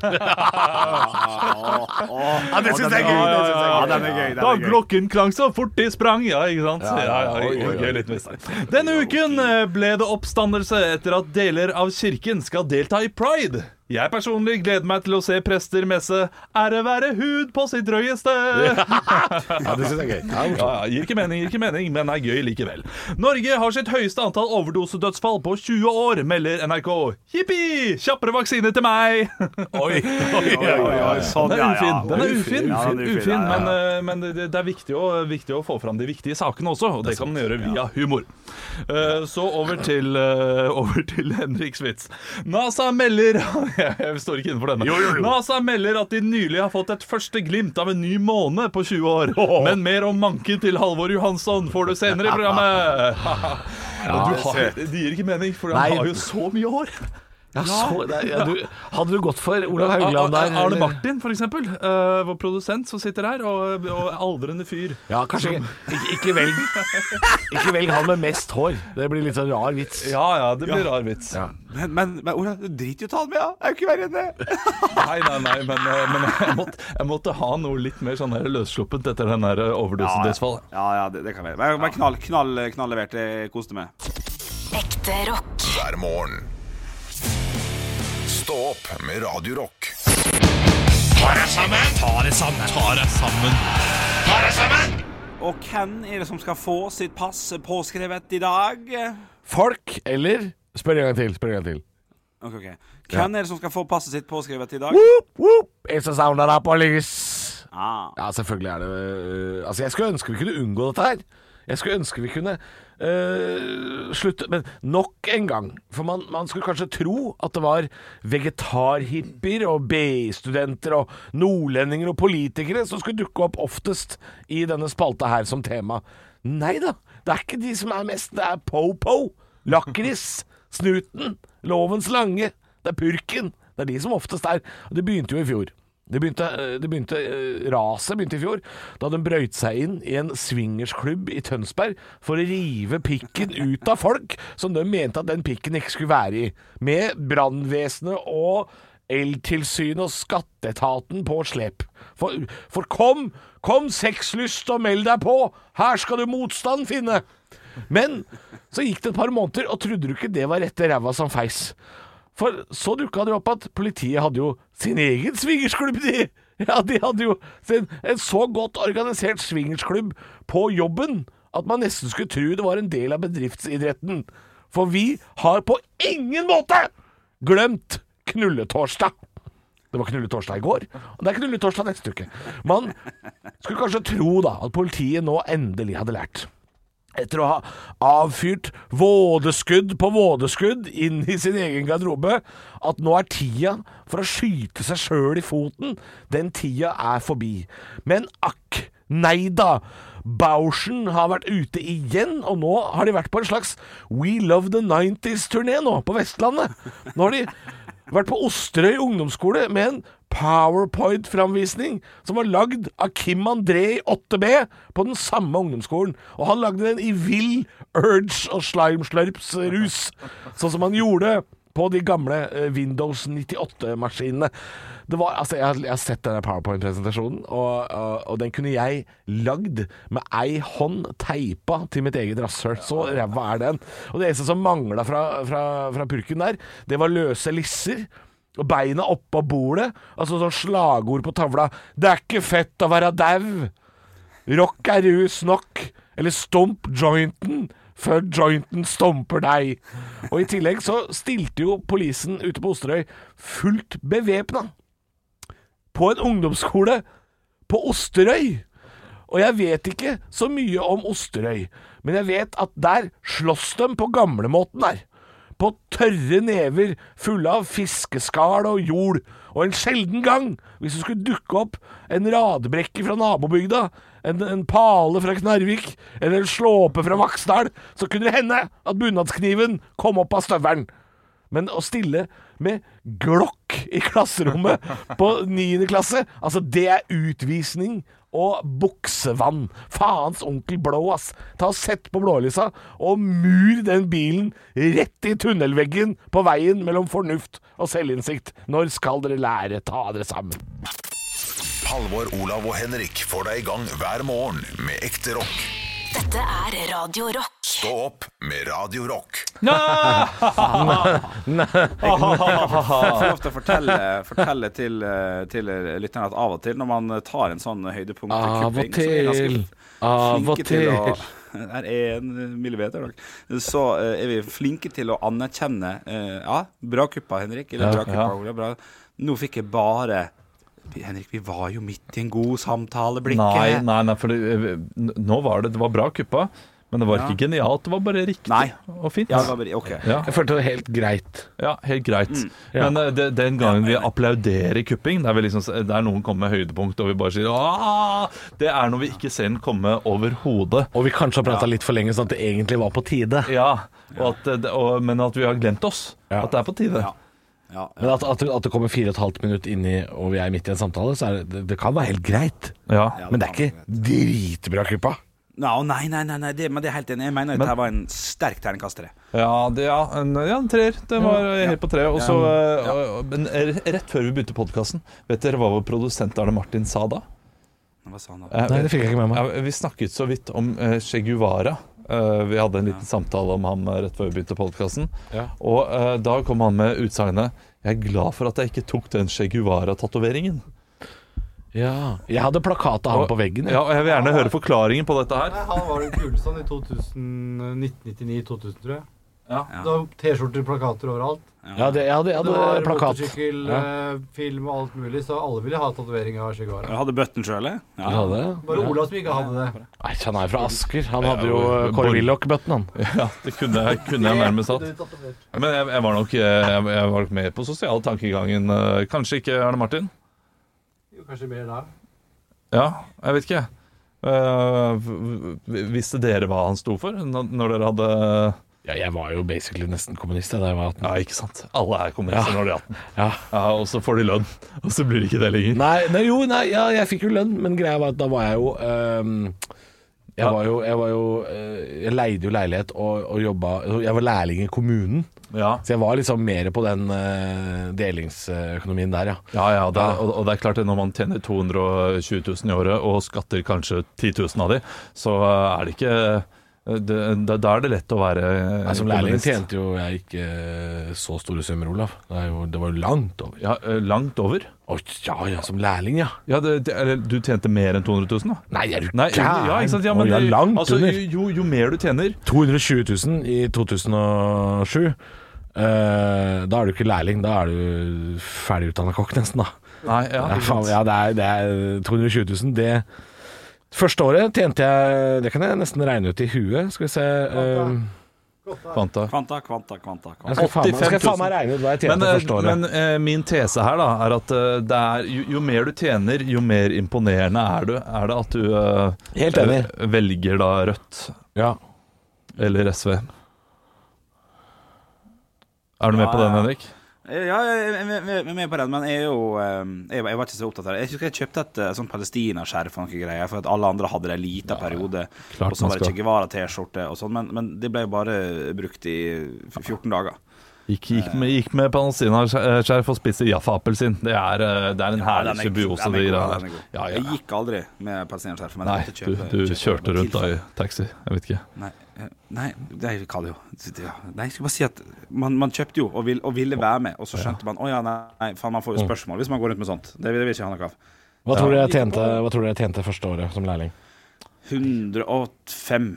B: det syns jeg er gøy.
C: Ja, ja,
B: det synes jeg er
C: ja, ja.
B: gøy.
C: Da glokken klang så fort de sprang. Ja, ikke sant? Ja, ja,
B: Oi, oi, oi.
C: gøy litt med seg. Denne uken eh, ble det oppstandelse etter at deler av kirken skal delta i pride. Jeg personlig gleder meg til å se prester messe 'Ære være hud på sitt drøyeste'.
B: Ja, det synes jeg er gøy. Ja,
C: Ja, ja, gir ikke mening, gir ikke mening, men er gøy likevel. Norge har sitt høyeste antall overdosedødsfall på 20 år, melder NRK. Jippi! Kjappere vaksine til meg! Oi, oi,
D: oi, oi, sånn,
C: Den er
D: ja,
C: ufin,
D: ja.
C: den er
D: Ufin,
C: ufin,
D: ja, den er ufin,
C: ufin,
D: ja, ja.
C: men, eh, men det, det er viktig å, viktig å få fram de viktige sakene også, og det kan man gjøre via humor. Eh, Så over til, eh, over til Henriks vits. NASA melder Jeg står ikke innenfor denne. NASA melder at de nylig har fått et første glimt av en ny måne på 20 år. Men mer om manken til Halvor Johansson får du senere i programmet. du har, det gir ikke mening, for han
B: Nei.
C: har jo så mye hår.
B: Ja, så, det, er- ja, du, hadde du gått for Olav Haugland der?
C: Arne
B: eller?
C: Martin, for eksempel, eh, vår produsent som sitter her, og, og aldrende fyr.
B: Ja, kanskje ikke, ikke, ikke velg Ikke velg han med mest hår. Det blir litt sånn rar vits.
C: Ja ja, det blir rar vits.
B: Ja.
D: Men, men, men Ola, du driter jo ta den med, ja. Det er jo ikke verre enn det.
C: Nei, nei, nei, men, eh, men jeg, måtte, jeg måtte ha noe litt mer sånn her eh, løssluppent etter den der overdosedødsfallet.
D: Ja, ja, det, det kan være. Men, men knall, knall, eh, knall levert. Jeg koste meg.
F: Ekte rock.
A: hver morgen. Stå opp med Radio Rock.
D: Og hvem er det som skal få sitt pass påskrevet i dag?
B: Folk eller Spør en gang til. spør en gang til
D: Ok, ok. Hvem er det som skal få passet sitt påskrevet i dag?
B: Whoop, whoop, it's a sound of the police.
D: Ah.
B: Ja, selvfølgelig er det øh, Altså, jeg skulle ønske vi kunne unngå dette her. Jeg skulle ønske vi kunne øh, slutte Men nok en gang. For man, man skulle kanskje tro at det var vegetarhippier og BI-studenter og nordlendinger og politikere som skulle dukke opp oftest i denne spalta her som tema. Nei da. Det er ikke de som er mest. Det er po-po. Lakris. Snuten. Lovens lange. Det er purken. Det er de som oftest er. Og det begynte jo i fjor. Det begynte, det begynte eh, Raset begynte i fjor, da de brøyt seg inn i en swingersklubb i Tønsberg for å rive pikken ut av folk som de mente at den pikken ikke skulle være i. Med brannvesenet og eltilsynet og skatteetaten på slep. For, for kom, kom sexlyst og meld deg på! Her skal du motstand finne! Men så gikk det et par måneder, og trodde du ikke det var rette ræva som feis? For så dukka det opp at politiet hadde jo sin egen swingersklubb, de! Ja, de hadde jo sin, en så godt organisert swingersklubb på jobben at man nesten skulle tro det var en del av bedriftsidretten. For vi har på ingen måte glemt knulletorsdag. Det var knulletorsdag i går, og det er knulletorsdag neste uke. Man skulle kanskje tro da at politiet nå endelig hadde lært etter å ha avfyrt vådeskudd på vådeskudd inn i sin egen garderobe, at nå er tida for å skyte seg sjøl i foten, den tida er forbi. Men akk, nei da. Bauschen har vært ute igjen, og nå har de vært på en slags We Love the 90s-turné nå, på Vestlandet. Nå har de vært på Osterøy ungdomsskole med en powerpoint-framvisning som var lagd av Kim André i 8B på den samme ungdomsskolen. Og han lagde den i vill urge og slimeslurps-rus, sånn som han gjorde på de gamle eh, Windows 98-maskinene. Det var, altså, jeg, har- jeg har sett denne powerpoint-presentasjonen, og, og, og den kunne jeg lagd med ei hånd teipa til mitt eget rasshøl. Så ræva er den. Og det eneste som mangla fra, fra, fra purken der, det var løse lisser. Og beina oppå bordet. Altså sånn slagord på tavla. 'Det er ikke fett å være dau'. Rock er rus nok. Eller stomp jointen før jointen stomper deg. Og i tillegg så stilte jo polisen ute på Osterøy fullt bevæpna på en ungdomsskole på Osterøy. Og jeg vet ikke så mye om Osterøy, men jeg vet at der slåss de på gamlemåten der. På tørre never fulle av fiskeskall og jord, og en sjelden gang, hvis det skulle dukke opp en radbrekke fra nabobygda, en, en pale fra Knarvik eller en slåpe fra Vaksdal, så kunne det hende at bunadskniven kom opp av støvelen. Men å stille med glokk i klasserommet på 9. klasse, altså det er utvisning og buksevann. Faens onkel blå, ass. Ta og Sett på blålysa og mur den bilen rett i tunnelveggen på veien mellom fornuft og selvinnsikt. Når skal dere lære? Ta dere sammen.
A: Halvor, Olav og Henrik får deg i gang hver morgen med ekte rock.
F: Dette er Radio Rock.
A: Stå opp med Radio Rock.
D: Jeg får lov til å fortelle, fortelle til, eh, til lytterne at av og til når man tar en sånn høydepunkt
B: Av og
D: kupping, så er vi ganske
B: til.
D: flinke
B: Av og
D: til å-
B: til.
D: Her er en millimeter, dere. Så eh, er vi flinke til å anerkjenne eh, Ja, bra kuppa, Henrik. Eller bra kuppa, Ole. Bra. Nå fikk jeg bare Henrik, vi var jo midt i en god eh. samtale,
C: Nei,
D: blikket.
C: nei, nei, for det, eh, n- nå var det Det var bra kuppa, men det var ikke genialt. Det var bare riktig
D: Nei.
C: og fint.
D: Ja,
C: Ja,
D: det var bare, ok.
C: ja,
B: Jeg følte det helt greit.
C: helt greit. Men eh, det, den gangen vi applauderer kupping, der, vi liksom, s- der noen kommer med høydepunkt og vi bare sier Aah! Det er når vi ikke ser den komme overhodet.
B: Og vi kanskje har prata litt for lenge, sånn at det egentlig var på tide.
C: Ja, og at, eh, det- og, men at vi har glemt oss.
B: Ja.
C: At det er på tide.
D: Ja. Ja, ja.
B: Men at, at, at det kommer fire og et halvt minutt inni, og vi er midt i en samtale, så er det, det, det kan være helt greit.
C: Ja.
B: Men det er ikke dritbra kuppa.
D: Nå, Nei, nei, nei, nei det, men det er helt enig. Jeg mener at
C: Men-
D: dette var en sterk terningkaster. jeg.
C: Ja, det, ja, en, ja, en treer. Det var helt på treet. Og så, eh, og- og- Men r- rett før vi begynte podkasten, vet dere hva vår produsent Arne Martin sa da?
D: Hva sa han da?
C: Eh,
B: Nei, det fikk jeg ikke med meg.
C: ja, vi snakket så vidt om eh, Che Guevara Eh, vi hadde en liten samtale om ham eh, rett før vi begynte podkasten.
B: Ja.
C: Og eh, da kom han med utsagnet 'Jeg er glad for at jeg ikke tok den Che Guevara-tatoveringen'.
B: Ja. Jeg hadde plakatet han på veggen.
C: Ja, og jeg vil gjerne høre forklaringen på dette her.
I: Han var den kuleste han i 2000, 1999-2000, tror jeg.
D: Ja.
I: Det var T-skjorter, plakater overalt.
B: Ja, det, jeg hadde, jeg
I: Det
B: hadde
I: var
B: plakat.
I: motorsykkel, eh, film og alt mulig, så alle ville ha tatovering av Che Guevara.
D: Jeg hadde bøtten sjøl, jeg.
B: Du hadde det?
I: Bare Olav som ikke hadde det.
B: Nei, han er fra Asker. Han hadde jo
C: Ja,
B: eh, Kåre
C: Borg.
B: Willoch-bøtten, han.
C: Ja, det kunne jeg, kunne jeg nærmest hatt. Men jeg, jeg var nok eh, jeg, jeg var nok med på sosial tankegangen. eh, Kanskje ikke Arne Martin?
I: Jo, kanskje mer da.
C: Ja, jeg vet ikke. Eh, v- v- visste dere hva han sto for n- når dere hadde
B: Ja, jeg var jo basically nesten kommunist jeg, da jeg var 18.
C: Ja, ikke sant. Alle er kommunister
B: Ja.
C: når de er 18.
B: Ja.
C: Ja, og så får de lønn, og så blir det ikke det lenger.
B: Nei, nei, jo, nei, ja, jeg fikk jo lønn, men greia var at da var jeg jo ehm, jeg var jo, jeg var jo eh, Jeg leide jo leilighet og, og jobba Jeg var lærling i kommunen,
C: Ja,
B: så jeg var liksom mer på den eh, delingsøkonomien der, ja.
C: ja, ja, det er, og, og det er klart det når man tjener 220 000 i året og skatter kanskje 10 000 av de, så eh, er det ikke eh, det, da- Da er det lett å være eh,
B: Nei, som lærling
C: kommunist.
B: Altså, tjente jo jeg ikke eh, så store summer, Olav. Det, er jo, det var jo langt over.
C: Ja, eh, langt over.
B: Å ja, ja, som lærling, ja.
C: Ja, det, det, eller, du tjente mer enn 200 000 da?
B: Nei, er du
C: Nei, jo, ja, ikke sant? Ja, men
B: Å, ja,
C: det-
B: langt
C: altså,
B: under.
C: jo, jo, jo mer du tjener
B: 220 000 i 2007. eh, da er du ikke lærling, da er du ferdigutdanna kokk, nesten, da.
C: Nei, ja,
B: Ja,
C: ikke
B: faen,
C: sant?
B: ja det, er, det er 220 000. Det første året tjente jeg Det kan jeg nesten regne ut i huet. Skal vi se eh,
C: Kvanta.
D: Kvanta, kvanta, kvanta. kvanta.
B: jeg skal, faen, meg-
C: 85 000.
B: skal jeg faen meg regne ut hva jeg tjente
C: Men, eh,
B: første året.
C: men eh, min tese her da er at eh, det er, jo, jo mer du tjener, jo mer imponerende er du. Er det at du eh,
B: Helt enig.
C: eh, velger da Rødt
B: ja.
C: eller SV? Er du med på den, Henrik?
D: Ja, jeg jeg- jeg- jeg er med på den, men jeg er jo eh, Jeg var jeg var ikke så opptatt av det. Jeg husker jeg kjøpte et eh, sånn palestinaskjerf og noen greier, for at alle andre hadde det en liten periode.
C: klart
D: og så
C: man
D: var det
C: skal.
D: Che Guevara-T-skjorte og sånn, men, men det ble jo bare brukt i f- 14 dager.
C: Gikk, gikk med, gikk med palestinaskjerf og spiste Jaffa-appelsin. Det, er, eh, det er en
D: Ja,
C: herlig
D: den er-
C: symbiose.
D: den er god,
C: de greiene
D: den er
C: der.
D: god.
C: Ja,
D: Jeg
C: ja.
D: gikk aldri med palestinaskjerf. men jeg
C: Nei,
D: måtte
C: du,
D: kjøpe-
C: du
D: kjøpe
C: kjørte rundt da
D: tilfelle.
C: i taxi. Jeg vet ikke.
D: Nei, eh, nei, det er jo hva det jo. Det- ja. Nei, jeg skulle bare si at man, man kjøpte jo og, vil, og ville være med, og så skjønte man å ja, nei, faen, man får jo spørsmål hvis man går rundt med sånt. Det vil, det vil ikke ha noe av.
B: Hva tror dere jeg tjente, hva tror dere jeg tjente første året som lærling?
D: 105.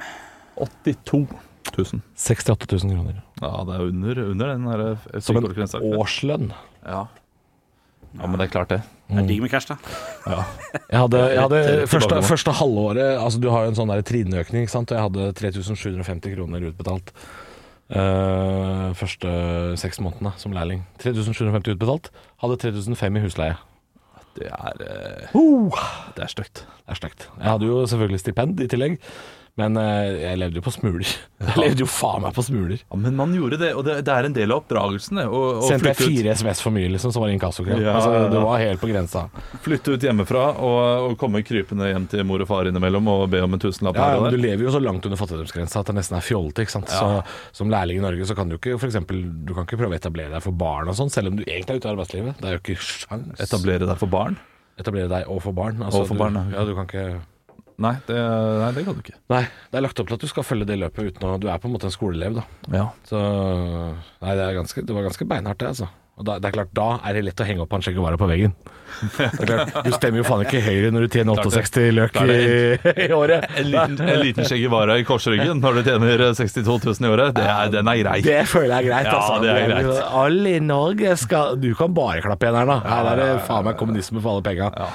C: 82 000.
B: 68 000 kroner.
C: Ja, det er under, under den der eh,
B: Som en
C: frikortgrensa.
B: årslønn.
C: Ja. ja, men det er klart det.
D: Jeg digger med cash, da.
B: Jeg hadde, jeg hadde
C: Rett- rett
B: første,
C: eh, tilbake.
B: første halvåret Altså Du har jo en sånn der trinnøkning, ikke sant? og jeg hadde 3750 kroner utbetalt. eh, første seks månedene som lærling. 3750 utbetalt. Hadde 3500 i husleie.
C: Det er, eh, det er stygt.
B: Det er stygt. Jeg hadde jo selvfølgelig stipend i tillegg, men eh, jeg levde jo på smuler. Jeg levde jo faen meg på smuler.
C: Ja, men man gjorde det, og det, det er en del av oppdragelsen. det, Å, å
B: Sendte jeg
C: flytte,
B: fire SMS for mye, liksom, som var inkassokrav.
C: Ja.
B: Altså, det var helt på grensa.
C: ut, flytte ut hjemmefra og, og komme krypende hjem til mor og far innimellom og be om en tusenlapp
B: Ja,
C: her
B: ja, men
C: og
B: du
C: der.
B: lever jo så langt under fattigdomsgrensa at det nesten er fjolte. ikke sant? Så Som lærling i Norge så kan du ikke for eksempel, du kan ikke prøve å etablere deg for barn og sånn, selv om du egentlig er ute av arbeidslivet. Det er jo ikke sjans.
C: Etablere deg for barn?
B: Etablere deg og for barn. altså,
C: Og for
B: du,
C: barn, ja.
B: ja. Du kan ikke
C: Nei, det, nei, det kan du ikke.
B: Nei, det er lagt opp til at du skal følge det løpet uten å Du er på en måte en skoleelev, da.
C: Ja.
B: Så Nei, det, er ganske, det var ganske beinhardt, det, altså. Og da, det er klart, Da er det lett å henge opp han Che Guevara på veggen. Det er klart, Du stemmer jo faen ikke Høyre når du tjener
C: Klart det.
B: 68 løk
C: Klart
B: i,
C: det.
B: i året.
C: En liten, en liten Che Guevara i korsryggen når du tjener 62 000 i året, det er, den er grei.
B: Det føler jeg er greit,
C: Ja,
B: altså.
C: det er greit.
B: Alle i Norge skal Du kan bare klappe igjen her, da. Her er det faen meg kommunisme for alle penga. Ja.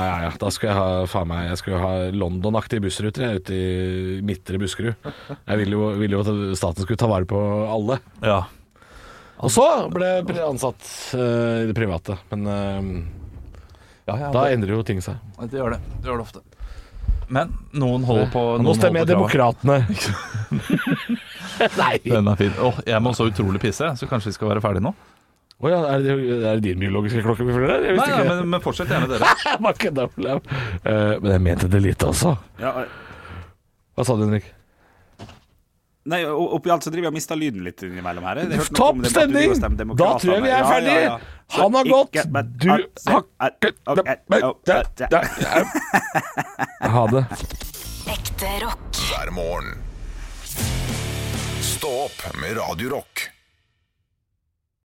B: ja, ja, Da skulle jeg ha faen meg Jeg skulle ha London-aktige bussruter jeg, ute i midtre Buskerud. Jeg ville jo, ville jo at staten skulle ta vare på alle.
C: Ja.
B: Og så ble jeg pri- ansatt eh, i det private. Men eh,
C: Ja, ja,
B: da
C: det,
B: endrer jo ting seg.
C: det gjør det. Det gjør det ofte. Men noen holder på
B: Nå
C: noen
B: stemmer jeg
C: holder kravet.
B: Demokratene. Nei. Å
C: Den er fin. Åh, jeg må så utrolig pisse, så kanskje vi skal være ferdige nå?
B: ja, er det, er det din biologiske klokke vi følger der? Jeg
C: Nei,
B: visste
C: nei,
B: ikke.
C: men, men fortsett gjerne dere.
B: Jeg bare kødda, Olav. Eh, Men jeg mente det lite også.
D: Ja, eh,
B: Hva sa du, Henrik?
D: nei, og oppi alt så driver jeg og mister lyden litt innimellom her. Jeg hørte noe
B: Topp
D: om det med
B: stemning!
D: at du driver og stemmer
B: Da tror jeg vi er
D: demokratene. Ja,
B: ferdige!
D: ja, ja. Så
B: Han har
D: ikke-
B: gått,
D: men-
B: du har
D: Ok, ok, ok.
B: Ha det.
F: Ekte rock.
A: hver morgen. Stå opp med Radio Rock.